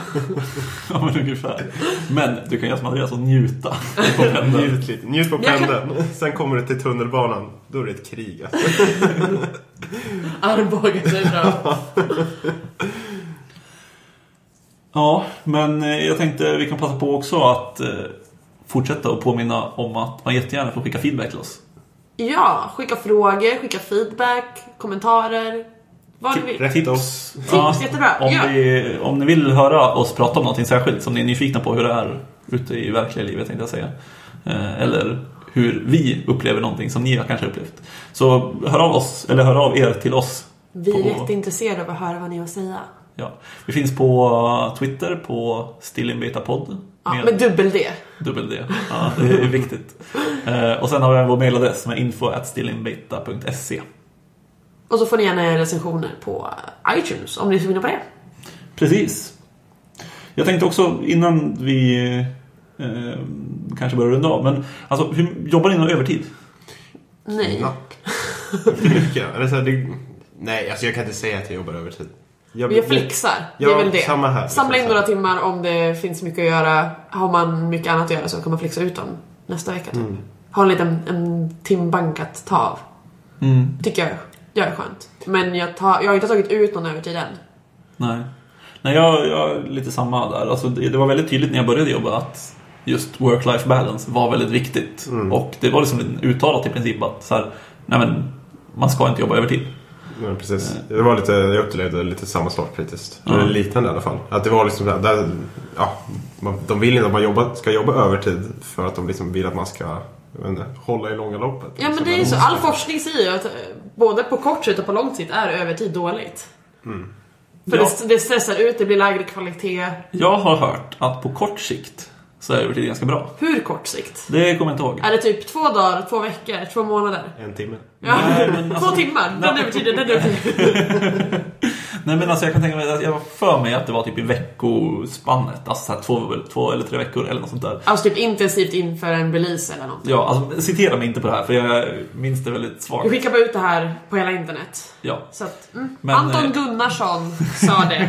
A: Ja, men ungefär. Men du kan göra som Andreas och njuta på pendeln.
B: Njut lite, njut på
C: Men jag kan-
B: pendeln. Sen kommer du till tunnelbanan, då är det ett krig. Alltså.
C: Arboga sig bra.
A: Ja, men eh, jag tänkte vi kan passa på också att eh, fortsätta och påminna om att man jättegärna får skicka feedback till oss.
C: Ja, skicka frågor, skicka feedback, kommentarer. Vad du vill.
B: Rätta oss.
A: Ja,
C: jättebra.
A: Om,
C: Ja.
A: vi, om ni vill höra oss prata om någonting särskilt som ni är nyfikna på hur det är ute i verkliga livet tänkte jag säga. Eh, Eller hur vi upplever någonting som ni har kanske upplevt. Så hör av oss, eller hör av er till oss.
C: Vi
A: på-
C: är jätteintresserade av att höra vad ni har att säga.
A: ja. Vi finns på Twitter på stillinbetapodd.
C: Ja,
A: med-
C: med dubbel D.
A: Dubbel D. [LAUGHS] Ja, det är viktigt. Eh, och sen har vi även vår mejladress som är info.stillinbeta.se.
C: Och så får ni gärna recensioner på iTunes om ni är sugna på det.
A: Precis. Jag tänkte också innan vi eh, kanske börjar runda av, men alltså, hur, jobbar ni någon övertid?
C: Nej.
B: Napp. För
C: [LAUGHS]
B: mycket. Eller så här, det... Nej, alltså jag kan inte säga att jag jobbar övertid. Jag,
C: Vi flexar. Det är
B: Ja,
C: väl det.
B: samma här.
C: Samla in
B: Flexar.
C: några timmar om det finns mycket att göra. Har man mycket annat att göra så kan man flexa ut dem nästa vecka. Typ.
B: Mm.
C: Ha en liten en timbank att ta av.
A: Mm.
C: Tycker jag. Jag är skönt. Men jag, tar, jag har inte tagit ut någon övertid än.
A: Nej. Nej, jag, jag är lite samma där. Alltså, det, det var väldigt tydligt när jag började jobba att just work-life balance var väldigt viktigt. Och det var liksom uttalat i princip att så här, nej men, man ska inte jobba övertid.
B: Men precis. Det var lite, jag upplevde lite samma sak faktiskt.
A: Ja.
B: Eller liknande i alla fall. Att det var liksom där, där ja, man, de vill inte att man jobba, ska jobba övertid för att de liksom vill att man ska jag vet inte, hålla i långa loppet.
C: Ja men
B: liksom.
C: det är ju så. All forskning säger ju att eh, både på kort sikt och på lång sikt är övertid dåligt.
B: Mm.
C: För
A: Ja.
C: det, det stressar ut, det blir lägre kvalitet.
A: Jag har hört att på kort sikt så är övertid ganska bra.
C: Hur kort sikt?
A: Det kommer jag inte ihåg.
C: Är det typ två dagar, två veckor, två månader?
B: En timme.
C: Ja.
A: Nej, men alltså-
C: [LAUGHS] Två timmar, den
A: Nej.
C: övertiden, den övertiden.
A: Nej men alltså jag kan tänka mig, att jag har för mig att det var typ i veckospannet. Alltså så här två, två eller tre veckor eller något sånt där.
C: Alltså typ intensivt inför en release eller någonting.
A: Ja, alltså citera mig inte på det här för jag minns det väldigt
C: Jag
A: svagt.
C: skickar bara ut det här på hela internet.
A: Ja.
C: Så att, mm.
A: Men,
C: Anton
A: eh,
C: Gunnarsson sa
B: [LAUGHS]
C: det.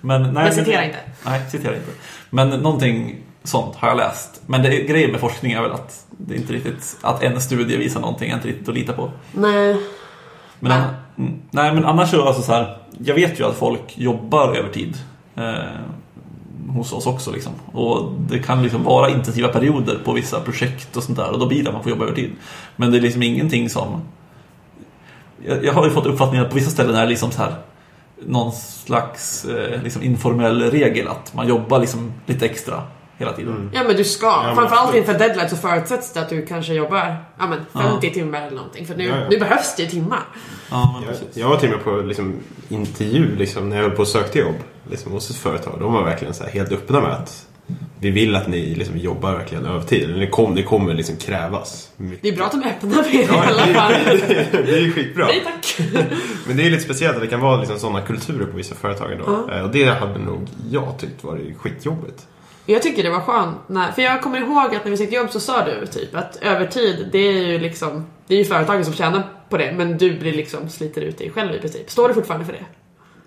A: Men, nej,
C: Men citera inte.
A: Nej, citera inte. Men någonting sånt har jag läst. Men det, grejen med forskning är väl att det är inte riktigt, att en studie visar någonting är inte riktigt att lita på.
C: Nej.
A: Men,
C: Nej.
A: anna- mm, nej, men annars så, alltså så här, jag vet ju att folk jobbar övertid eh, hos oss också. Liksom. Och det kan liksom vara intensiva perioder på vissa projekt och sånt där och då blir det att man får jobba övertid. Men det är liksom ingenting som... Jag, jag har ju fått uppfattningen att på vissa ställen är det liksom så här någon slags eh, liksom informell regel att man jobbar liksom lite extra hela tiden.
C: Ja men du ska.
B: men
C: Framförallt
B: absolut.
C: inför deadline så förutsätts det att du kanske jobbar ja, men 50 timmar eller någonting. För nu,
B: Ja, ja.
C: nu behövs det ju timmar.
A: Ja, men
B: Jag,
A: precis.
B: jag var till och med på liksom, intervju liksom, när jag höll på och sökte jobb liksom, hos ett företag. De var verkligen så här, helt öppna med att vi vill att ni liksom jobbar verkligen övertid. Eller Det, kom, det kommer liksom krävas. mycket.
C: Det är bra att de öppnar för er i
B: Ja,
C: alla fall.
B: [LAUGHS] det, det, det är ju skitbra.
C: Nej tack.
B: Men det är lite speciellt att det kan vara liksom sådana kulturer på vissa företag idag. Eh, Och det hade nog jag tyckt varit skitjobbigt.
C: Jag tycker det var skönt. När, för jag kommer ihåg att när vi sökte jobb så sa du typ att övertid, det är ju liksom, det är ju företagen som tjänar på det. Men du blir liksom, sliter ut dig själv i princip. Står du fortfarande för det?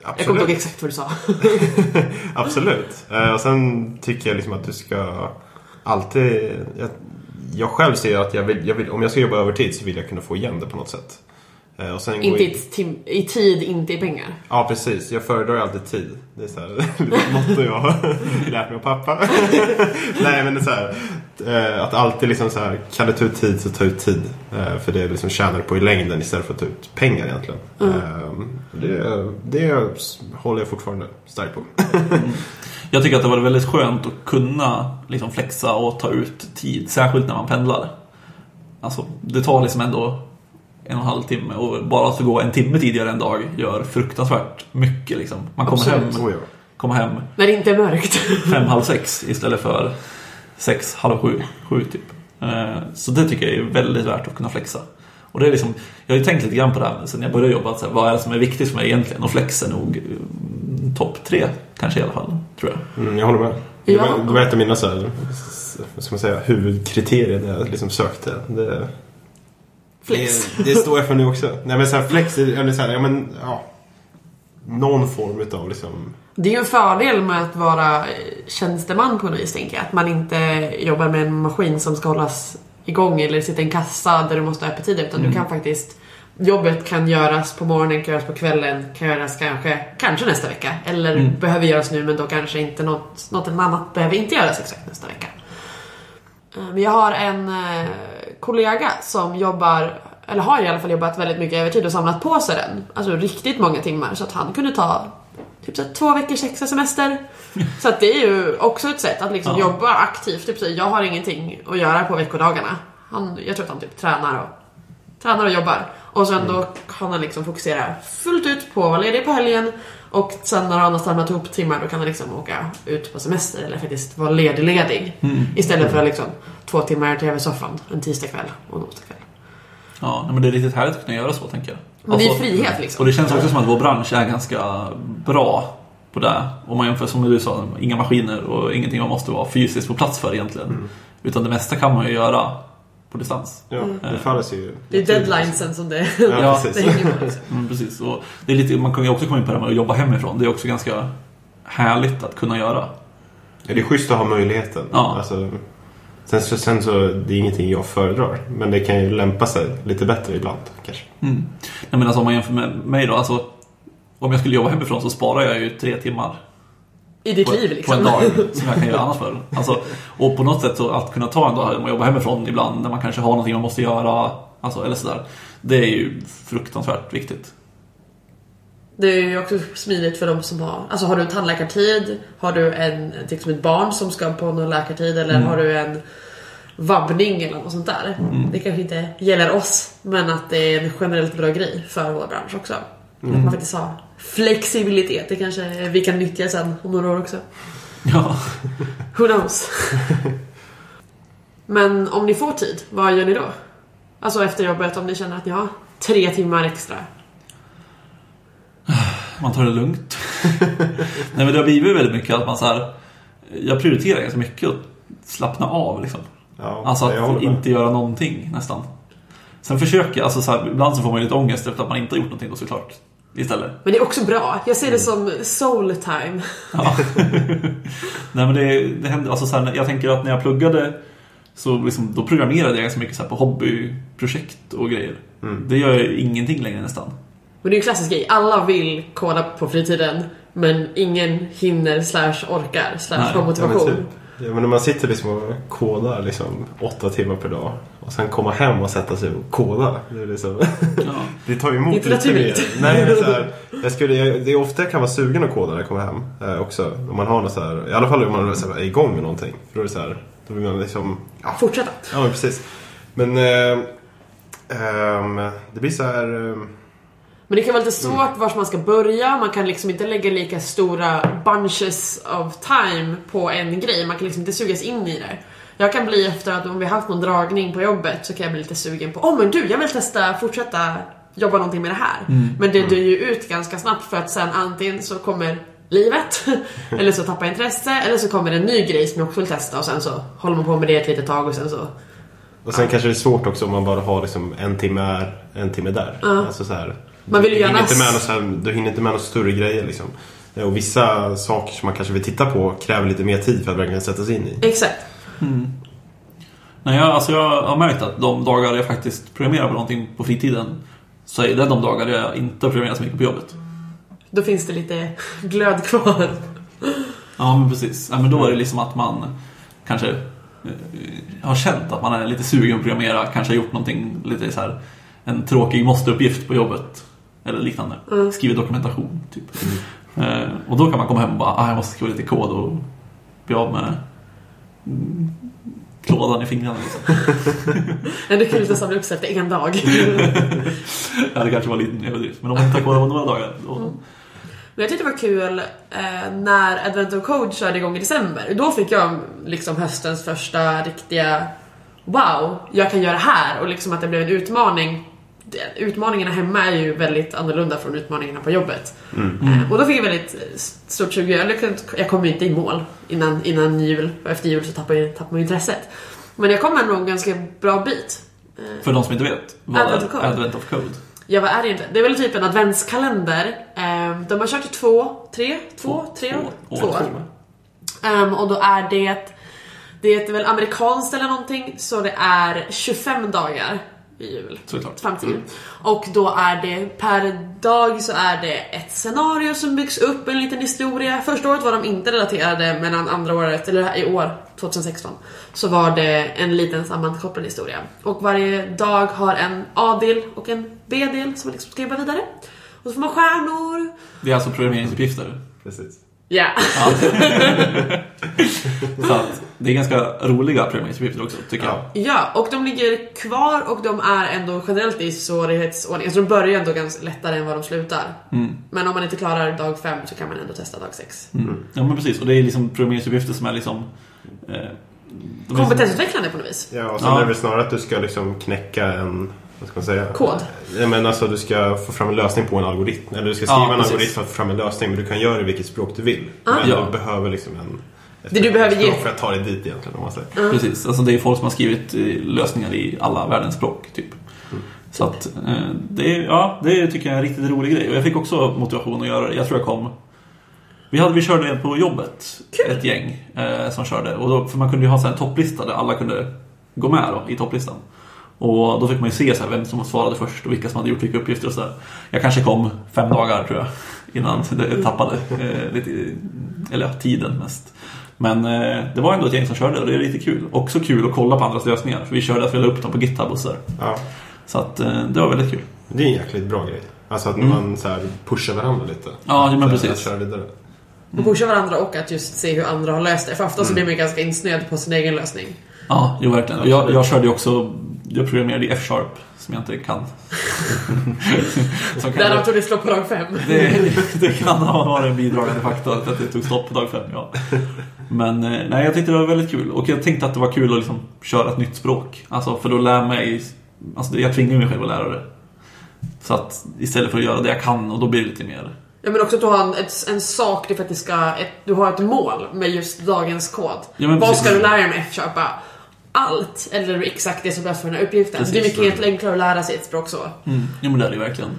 C: Jag kommer inte
B: Absolut.
C: ihåg exakt vad du sa.
B: [LAUGHS] Absolut. Eh, Och sen tycker jag liksom att du ska alltid... Jag, jag själv ser att jag vill, jag vill, om jag ska jobba övertid så vill jag kunna få igen det på något sätt. Eh, Och sen gå
C: inte
B: in-
C: i, tim- i tid, inte i pengar.
B: Ja, precis. Jag föredrar ju alltid tid. Det är så här, [LAUGHS] det är ett motto jag har [LAUGHS] lärt mig av pappa. [LAUGHS] Nej, men det är så här, eh, att alltid liksom så här, kan du ta ut tid så ta ut tid. Eh, För det liksom tjänar du på i längden istället för att ta ut pengar egentligen. Eh, och Det, det håller jag fortfarande starkt på.
A: Jag tycker att det var väldigt skönt att kunna liksom flexa och ta ut tid, särskilt när man pendlar. Alltså, det tar liksom ändå en och en halv timme och bara att få gå en timme tidigare en dag gör fruktansvärt mycket. Liksom. Man kommer hem,
B: Så Oh, ja.
A: kommer hem
C: När det inte är mörkt. [LAUGHS]
A: fem, halv sex istället för sex, halv sju, sju typ. Eh, Så det tycker jag är väldigt värt att kunna flexa. Och det är liksom, jag har ju tänkt lite grann på det här sen jag började jobba, att så här, vad är det som är viktigt för mig egentligen? Och flex är nog eh, topp tre, kanske i alla fall, tror jag.
B: Mm, jag håller med. Det var, det var ett av mina så här, vad ska man säga, huvudkriterier när jag liksom sökte. Det,
C: Flex.
B: Det, det står jag för nu också. Nej men så här, flex, är- eller så här, ja men ja. Någon form utav liksom
C: Det är ju en fördel med att vara eh, tjänsteman på något vis, tänker jag. Att man inte jobbar med en maskin som ska hållas igång eller sitta i en kassa där du måste ha öppettider. Utan du kan faktiskt... Jobbet kan göras på morgonen, kan göras på kvällen, kan göras kanske, kanske nästa vecka. Eller behöver göras nu, men då kanske inte något, något annat behöver inte göras exakt nästa vecka. Men jag har en eh, kollega som jobbar, eller har i alla fall jobbat väldigt mycket övertid och samlat på sig den. Alltså riktigt många timmar så att han kunde ta typ så här, två veckors extra semester. Så att det är ju också ett sätt att liksom
A: Ja.
C: jobba aktivt. Typ så här, jag har ingenting att göra på veckodagarna. Han, jag tror att han typ tränar och, tränar och jobbar. Och
A: Mm.
C: sen då kan han liksom fokusera fullt ut på att vara ledig på helgen. Och sen när han har samlat ihop timmar då kan han liksom åka ut på semester eller faktiskt vara ledig-ledig.
A: Mm.
C: Istället för liksom två timmar i tv-soffan en tisdagkväll och en onsdagkväll.
A: Ja, nej, men det är riktigt härligt att kunna göra så, tänker jag. Alltså,
C: Men det är ju frihet liksom.
A: Och det känns också som att vår bransch är ganska bra på det. Om man jämför, som du sa, inga maskiner och ingenting man måste vara fysiskt på plats för egentligen.
C: Mm.
A: Utan det mesta kan man ju göra på distans.
B: Ja, det faller ju.
C: Mm. Det är deadlinesen som det,
B: Ja,
C: det
B: precis.
C: hänger på. Liksom.
A: Mm, precis. Och det är lite, man kan ju också komma in på det här med att jobba hemifrån. Det är också ganska härligt att kunna göra.
B: Ja, det är schysst att ha möjligheten.
A: Ja.
B: Alltså, sen, så, sen så, det är ingenting jag föredrar. Men det kan ju lämpa sig lite bättre ibland kanske.
A: Mm. Jag menar, alltså, om man jämför med mig då. Alltså, om jag skulle jobba hemifrån så sparar jag ju tre timmar
C: I ditt
A: på,
C: liv liksom.
A: på en dag som jag kan göra annars för. Alltså, och på något sätt så att kunna ta en dag och jobba hemifrån ibland när man kanske har någonting man måste göra alltså, eller sådär. Det är ju fruktansvärt viktigt.
C: Det är ju också smidigt för de som har, alltså har du en tandläkartid, har du en, liksom ett barn som ska på någon läkartid eller har du en vabbning eller något sånt där. Det kanske inte gäller oss, men att det är en generellt bra grej för vår bransch också. Att man faktiskt har flexibilitet, det kanske vi kan nyttja sen om några år också.
A: Ja.
C: Who knows? men om ni får tid, vad gör ni då? Alltså efter jobbet, om ni känner att ni har tre timmar extra.
A: [LAUGHS] Man tar det lugnt. [LAUGHS] Nej men det har blivit väldigt mycket att man så här, Jag prioriterar ganska mycket att slappna av liksom.
B: Ja,
A: Alltså
B: jag håller
A: att
B: med.
A: inte göra någonting nästan. Sen försöker jag, alltså så här, ibland så får man ju lite ångest efter att man inte har gjort någonting då såklart. Istället.
C: Men det är också bra. Jag ser det som soul time.
A: Ja. [LAUGHS] Nej men det, det händer, alltså så här, jag tänker att när jag pluggade så liksom, då programmerade jag ganska mycket så här på hobbyprojekt och grejer. Det gör jag ingenting längre nästan.
C: Men det är ju en klassisk grej. Alla vill koda på fritiden. Men ingen hinner slash orkar slash
A: Nej,
C: har
B: Ja, men,
C: motivation.
B: typ. ja, men när man sitter liksom och kodar liksom, åtta timmar per dag och sen komma hem och sätta sig och koda. Det, är liksom,
A: Ja.
B: [LAUGHS] det tar ju emot
C: Inte
B: lite mer.
C: naturligt.
B: Nej, men så [LAUGHS] här, jag skulle, jag, det är ofta jag kan vara sugen att koda när jag kommer hem eh, också. Om man har något så här, I alla fall om man så här, är igång med någonting. För då, är det så här, då blir man liksom... Ja,
C: Fortsätta.
B: Ja, men precis. Men eh, ehm, det blir så här... ehm,
C: Men det kan vara lite svårt vart man ska börja, man kan liksom inte lägga lika stora bunches of time på en grej, man kan liksom inte sugas in i det. Jag kan bli efter att om vi haft någon dragning på jobbet så kan jag bli lite sugen på Åh men du, jag vill testa fortsätta jobba någonting med det här. Men det dör ju ut ganska snabbt för att sen antingen så kommer livet, [LAUGHS] eller så tappar jag intresse, eller så kommer en ny grej som jag också vill testa och sen så håller man på med det ett litet tag och sen så
B: Och sen kanske det är svårt också om man bara har liksom en timme här, en timme där. Alltså så här,
C: Man vill ju
B: du, hinner
C: gärna-
B: inte med något så här, du hinner inte med några större grejer liksom. Eh, Och vissa saker som man kanske vill titta på kräver lite mer tid för att verkligen sätta sig in i.
C: Exakt.
A: Nej, jag, alltså jag har märkt att de dagar jag faktiskt programmerar på någonting på fritiden så är det de dagar jag inte programmerar så mycket på jobbet.
C: Då finns det lite [LAUGHS] glöd kvar.
A: Ja, men precis. Ja, men då är det liksom att man kanske eh, har känt att man är lite sugen på att programmera, kanske har gjort någonting lite så här en tråkig måsteuppgift på jobbet eller liknande. Skrivit dokumentation, typ. Eh, och då kan man komma hem och bara, ah, jag måste skriva lite kod och bli av med mm, klådan i fingrarna. Liksom.
C: Men det är kul att samla upp sig efter en dag.
A: Ja, det kanske var lite överdrift, men om man inte har kodat på några dagar. Då...
C: Mm. Men jag tyckte det var kul eh, när Advent of Code körde igång i december. Då fick jag liksom höstens första riktiga Wow, jag kan göra det här och liksom att det blev en utmaning. Det- Utmaningarna hemma är ju väldigt annorlunda från utmaningarna på jobbet. Eh, och då fick jag väldigt eh, stort sug. Jag, lyckades- jag kom ju inte i mål innan, innan jul och efter jul så tappade, jag- tappade man intresset. Men jag kom ändå en ganska bra bit.
A: För de som inte vet, vad
C: Advent of
A: är
C: Code.
A: Advent of Code?
C: Ja vad är det egentligen? Det är väl typ en adventskalender. Ehm, De har kört i två, tre, två, tre år.
A: Två.
C: Två
A: Två.
C: år. Ehm, Och då är det, det är väl amerikanskt eller någonting, så det är 25 dagar i jul.
A: Såklart.
C: Fram till jul. Och då är det, per dag så är det ett scenario som byggs upp, en liten historia. Första året var de inte relaterade, medan andra året, eller i år, 2016, så var det en liten sammankopplad historia. Och varje dag har en A-del och en B-del som man liksom ska jobba vidare. Och så får man stjärnor.
A: Det är alltså programmeringsuppgifter.
B: Precis.
C: Ja. [LAUGHS]
A: Ja. Så att det är ganska roliga programmeringsuppgifter också, tycker jag.
B: Ja.
C: Ja, och de ligger kvar och de är ändå generellt i svårighetsordning. Alltså de börjar ändå ganska lättare än vad de slutar. Men om man inte klarar dag fem så kan man ändå testa dag sex.
A: Mm. Ja, men precis. Och det är liksom programmeringsuppgifter som är liksom... Eh, de är
C: Kompetensutvecklande på något vis.
B: Ja, och sen
A: Ja.
B: är det väl snarare att du ska liksom knäcka en... Vad ska man säga?
C: Kod.
B: Ja, men alltså du ska få fram en lösning på en algoritm. Eller du ska skriva
A: Ja,
B: en
A: precis.
B: algoritm för att få fram en lösning. Men du kan göra det i vilket språk du vill. Men
A: Ja.
B: du behöver liksom en... ett-
C: Ah. Det du behöver
B: ett
C: ge-
B: språk för att ta dig dit egentligen om man säger.
A: Som, precis. Alltså det är folk som har skrivit eh, lösningar i alla världens språk, typ. Så att eh, det, är- ja, det tycker jag är en riktigt rolig grej. Och jag fick också motivation att göra det. Jag tror jag kom... Vi, hade, vi körde på jobbet, ett gäng eh, som körde. Och då, för man kunde ju ha så här en topplista där alla kunde gå med då, i topplistan. Och då fick man ju se så här vem som svarade först och vilka som hade gjort vilka uppgifter och sådär. Jag kanske kom fem dagar tror jag innan det tappade eh, lite, eller ja, tiden mest. Men eh, det var ändå ett gäng som körde och det är lite kul. Också kul att kolla på andras lösningar för vi körde att vi la upp dem på GitHub och sådär.
B: Ja.
A: Så att eh, det var väldigt kul.
B: Det är en jäkligt bra grej. Alltså att man så här pushar varandra lite.
A: Mm. Ja, men
B: Att, eh,
A: precis.
B: att köra vidare.
A: Mm.
C: Och pusha varandra och att just se hur andra har löst det. För ofta så blir man ganska insnöad på sin egen lösning.
A: Ja, jo verkligen. Och Jag, jag körde ju också, jag programmerade i F-sharp som jag inte [LAUGHS] kan. som kan
C: Därav tog det slå på dag fem.
A: Det, det kan ha varit en bidragande faktor att det tog stopp på dag fem, ja. Men eh, nej, jag tyckte det var väldigt kul. Och jag tänkte att det var kul att liksom köra ett nytt språk. Alltså, för då lär mig... Alltså, det- jag tvingar mig själv att lära det. Så att istället för att göra det jag kan, och då blir det lite mer...
C: Ja, men också att du har en, ett, en sak, det är för att det ska, ett, du har ett mål med just dagens kod.
A: Ja, men
C: Vad
A: precis.
C: ska du lära dig med F-sharp? Bara, Allt! Eller exakt det som behövs för den här uppgiften.
A: Precis.
C: det är mycket enklare att lära sig ett språk så.
A: Mm, jo men det är det ju verkligen.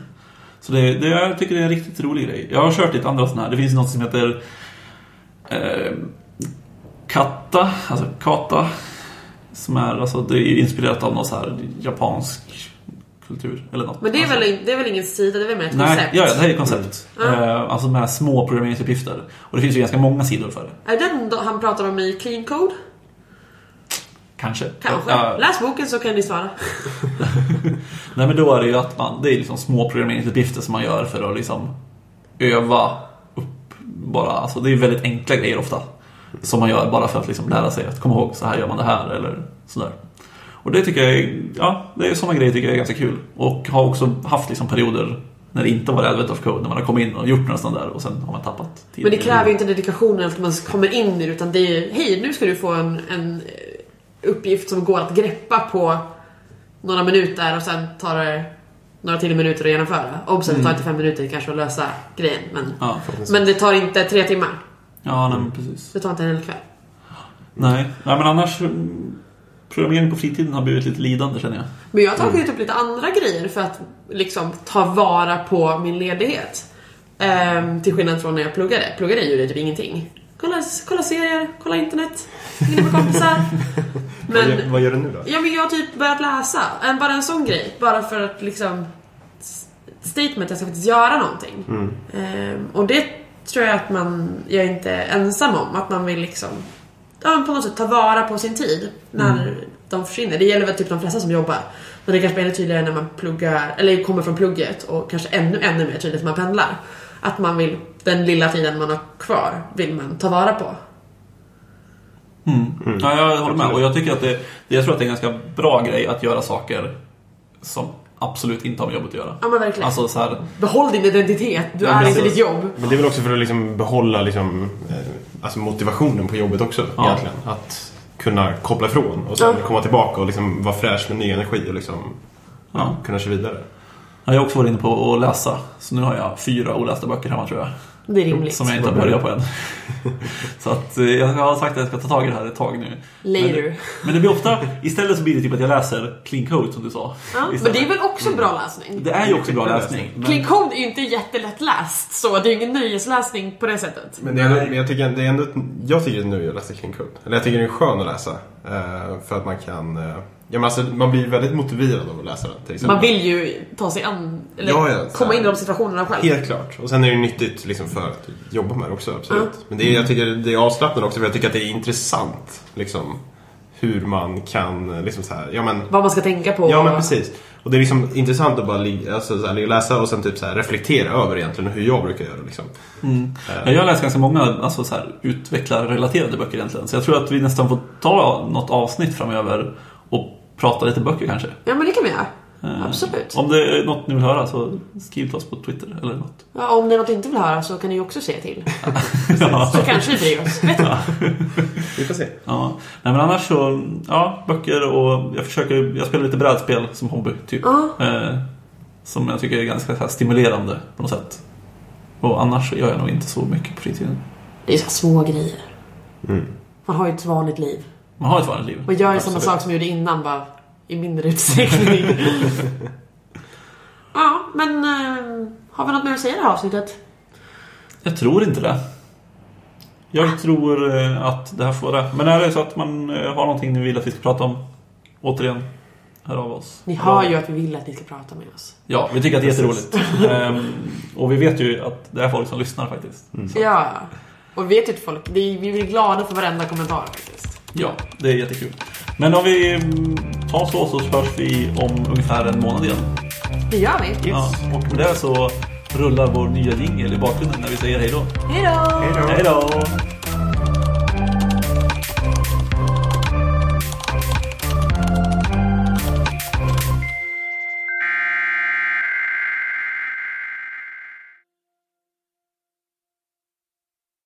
A: Så det, det, jag tycker det är en riktigt rolig grej. Jag har kört lite andra sådana här. Det finns något som heter eh, Kata, alltså Kata. Som är, alltså, det är ju inspirerat av någon så här japansk kultur eller något.
C: Men det är,
A: alltså,
C: väl, det är väl ingen sida, det är väl mer ett
A: Nej,
C: koncept? Mm.
A: ja, ja, det här är ett koncept. Eh, alltså med små programmeringsuppgifter. Och det finns ju ganska många sidor för det.
C: Är det den då han pratar om i Clean Code?
A: Kanske.
C: Kanske.
A: Ja,
C: Läs boken så kan ni svara.
A: Nej men då är det ju att man, det är liksom små programmeringsuppgifter som man gör för att liksom öva upp bara, alltså det är väldigt enkla grejer ofta. Som man gör bara för att liksom lära sig att komma ihåg, så här gör man det här eller sådär. Och det tycker jag är, ja, det är sådana grejer tycker jag är ganska kul. Och har också haft liksom perioder när det inte var Advent of Code, när man har kommit in och gjort något sånt där och sen har man tappat tiden.
C: Men det kräver ju inte dedikationen att man kommer in i det utan det är hej nu ska du få en, en eh, uppgift som går att greppa på några minuter och sen tar det några till minuter att genomföra. Obs, det tar inte fem minuter kanske att lösa grejen. Men,
A: Mm. Ja,
C: men det tar inte tre timmar.
A: ja nej, men precis.
C: Det tar inte en hel kväll.
A: Nej. nej, men annars... mm, Programmering på fritiden har blivit lite lidande känner jag.
C: Men jag har tagit upp lite andra grejer för att liksom ta vara på min ledighet. Ehm, till skillnad från när jag pluggade. Pluggade gjorde jag typ ingenting. Kolla, kolla serier, kolla internet, hängde med kompisar.
B: Vad, gör,
C: Men,
B: vad gör du nu då?
C: ja, men jag har typ börjat läsa. En, bara en sån grej. Bara för att liksom... s- Statement, att jag ska faktiskt göra någonting.
A: Mm.
C: Ehm, och det tror jag att man, jag är inte ensam om. Att man vill liksom ja, men på något sätt ta vara på sin tid när
A: Mm.
C: de försvinner. Det gäller väl typ de flesta som jobbar. Men det kanske är ännu tydligare när man pluggar, eller kommer från plugget och kanske ännu, ännu mer tydligt när man pendlar. Att man vill, den lilla tiden man har kvar, vill man ta vara på.
A: Ja, jag håller med. Och jag tycker att det, jag tror att det är en ganska bra grej att göra saker som absolut inte har med jobbet att göra.
C: Ja men verkligen.
A: Alltså så här,
C: Behåll din identitet, du
A: Ja,
C: är
A: men
C: inte
A: alltså-
C: ditt jobb.
B: Men det är väl också för att liksom behålla liksom, eh, alltså motivationen på jobbet också
A: Ja.
B: egentligen. Att kunna koppla ifrån och sen
C: Ja.
B: komma tillbaka och liksom vara fräsch med ny energi och liksom,
A: Ja.
B: kunna köra vidare.
A: jag har också varit inne på att läsa. Så nu har jag fyra olästa böcker hemma tror jag.
C: Det är rimligt.
A: Som jag inte har börjat på än. [LAUGHS] så att eh, jag har sagt att jag ska ta tag i det här ett tag nu. Men,
C: Later.
A: det- men det blir ofta, istället så blir det typ att jag läser Clean Code som du sa.
C: Ja, men
A: istället.
C: det är väl också bra
B: Mm.
C: läsning?
A: det är ju också bra läsning. men-
C: Clean Code är ju inte jättelättläst, så det är ju ingen nöjesläsning på det sättet.
B: Men, det är, men jag tycker det är ändå, ett- jag tycker det är nu jag läser King Code. Eller jag tycker det är skön att läsa. eh, För att man kan, eh, ja, men alltså, man blir väldigt motiverad av att läsa den till exempel.
C: Man vill ju ta sig an, eller
B: Ja, ja, så
C: komma
B: här.
C: in i de situationerna själv.
B: Helt klart. Och sen är det ju nyttigt liksom, för att jobba med det också, absolut. Men det är, jag tycker det är avslappnande också för jag tycker att det är intressant. Liksom, hur man kan, liksom så här, ja men
C: Vad man ska tänka på.
B: Ja men precis. Och det är liksom intressant att bara ligga, alltså, så här, ligga och läsa och sen typ så här, reflektera över egentligen hur jag brukar göra. Liksom.
A: Ja, jag har läst ganska många alltså, så här, utvecklarrelaterade böcker egentligen. Så jag tror att vi nästan får ta något avsnitt framöver och prata lite böcker kanske.
C: Ja, men det kan vi göra.
A: Eh,
C: Absolut.
A: Om det är något ni vill höra så skriv till oss på Twitter eller något.
C: Ja, om det är något du inte vill höra så kan ni ju också
B: [LAUGHS]
C: säga till.
A: ja.
C: Så kanske vi bryr oss. Vet du?
B: Vi får se.
A: ja. Nej, men annars så, ja, böcker och jag försöker, jag spelar lite brädspel som hobby typ.
C: Ja.
A: Eh, som jag tycker är ganska så här, stimulerande på något sätt. Och annars så gör jag nog inte så mycket på fritiden.
C: Det är så här små grejer.
B: Mm.
C: Man har ju ett vanligt liv.
A: Man har ett vanligt liv.
C: Man gör ju samma
A: Absolut.
C: sak som jag gjorde innan, bara i
B: [LAUGHS]
C: mindre utsträckning. ja, men eh, har vi något mer att säga i det här avsnittet?
A: Jag tror inte det. Jag tror eh, att det här får det. Men är det så att man eh, har någonting ni vill att vi ska prata om? Återigen, hör av oss.
C: Ni hör ju att vi vill att ni ska prata med oss.
A: Ja, vi tycker att det är jätteroligt. Ehm, och vi vet ju att det är folk som lyssnar faktiskt.
C: Mm.
A: Så,
C: Ja, och vet ju att folk, det är, vi blir glada för varenda kommentar faktiskt.
A: ja, det är jättekul. Men om vi mm, tar så, så hörs vi om ungefär en månad igen.
C: Det gör vi.
A: Ja, och med det så rullar vår nya jingel i bakgrunden när vi säger hej då.
C: Hej då!
A: Hej då!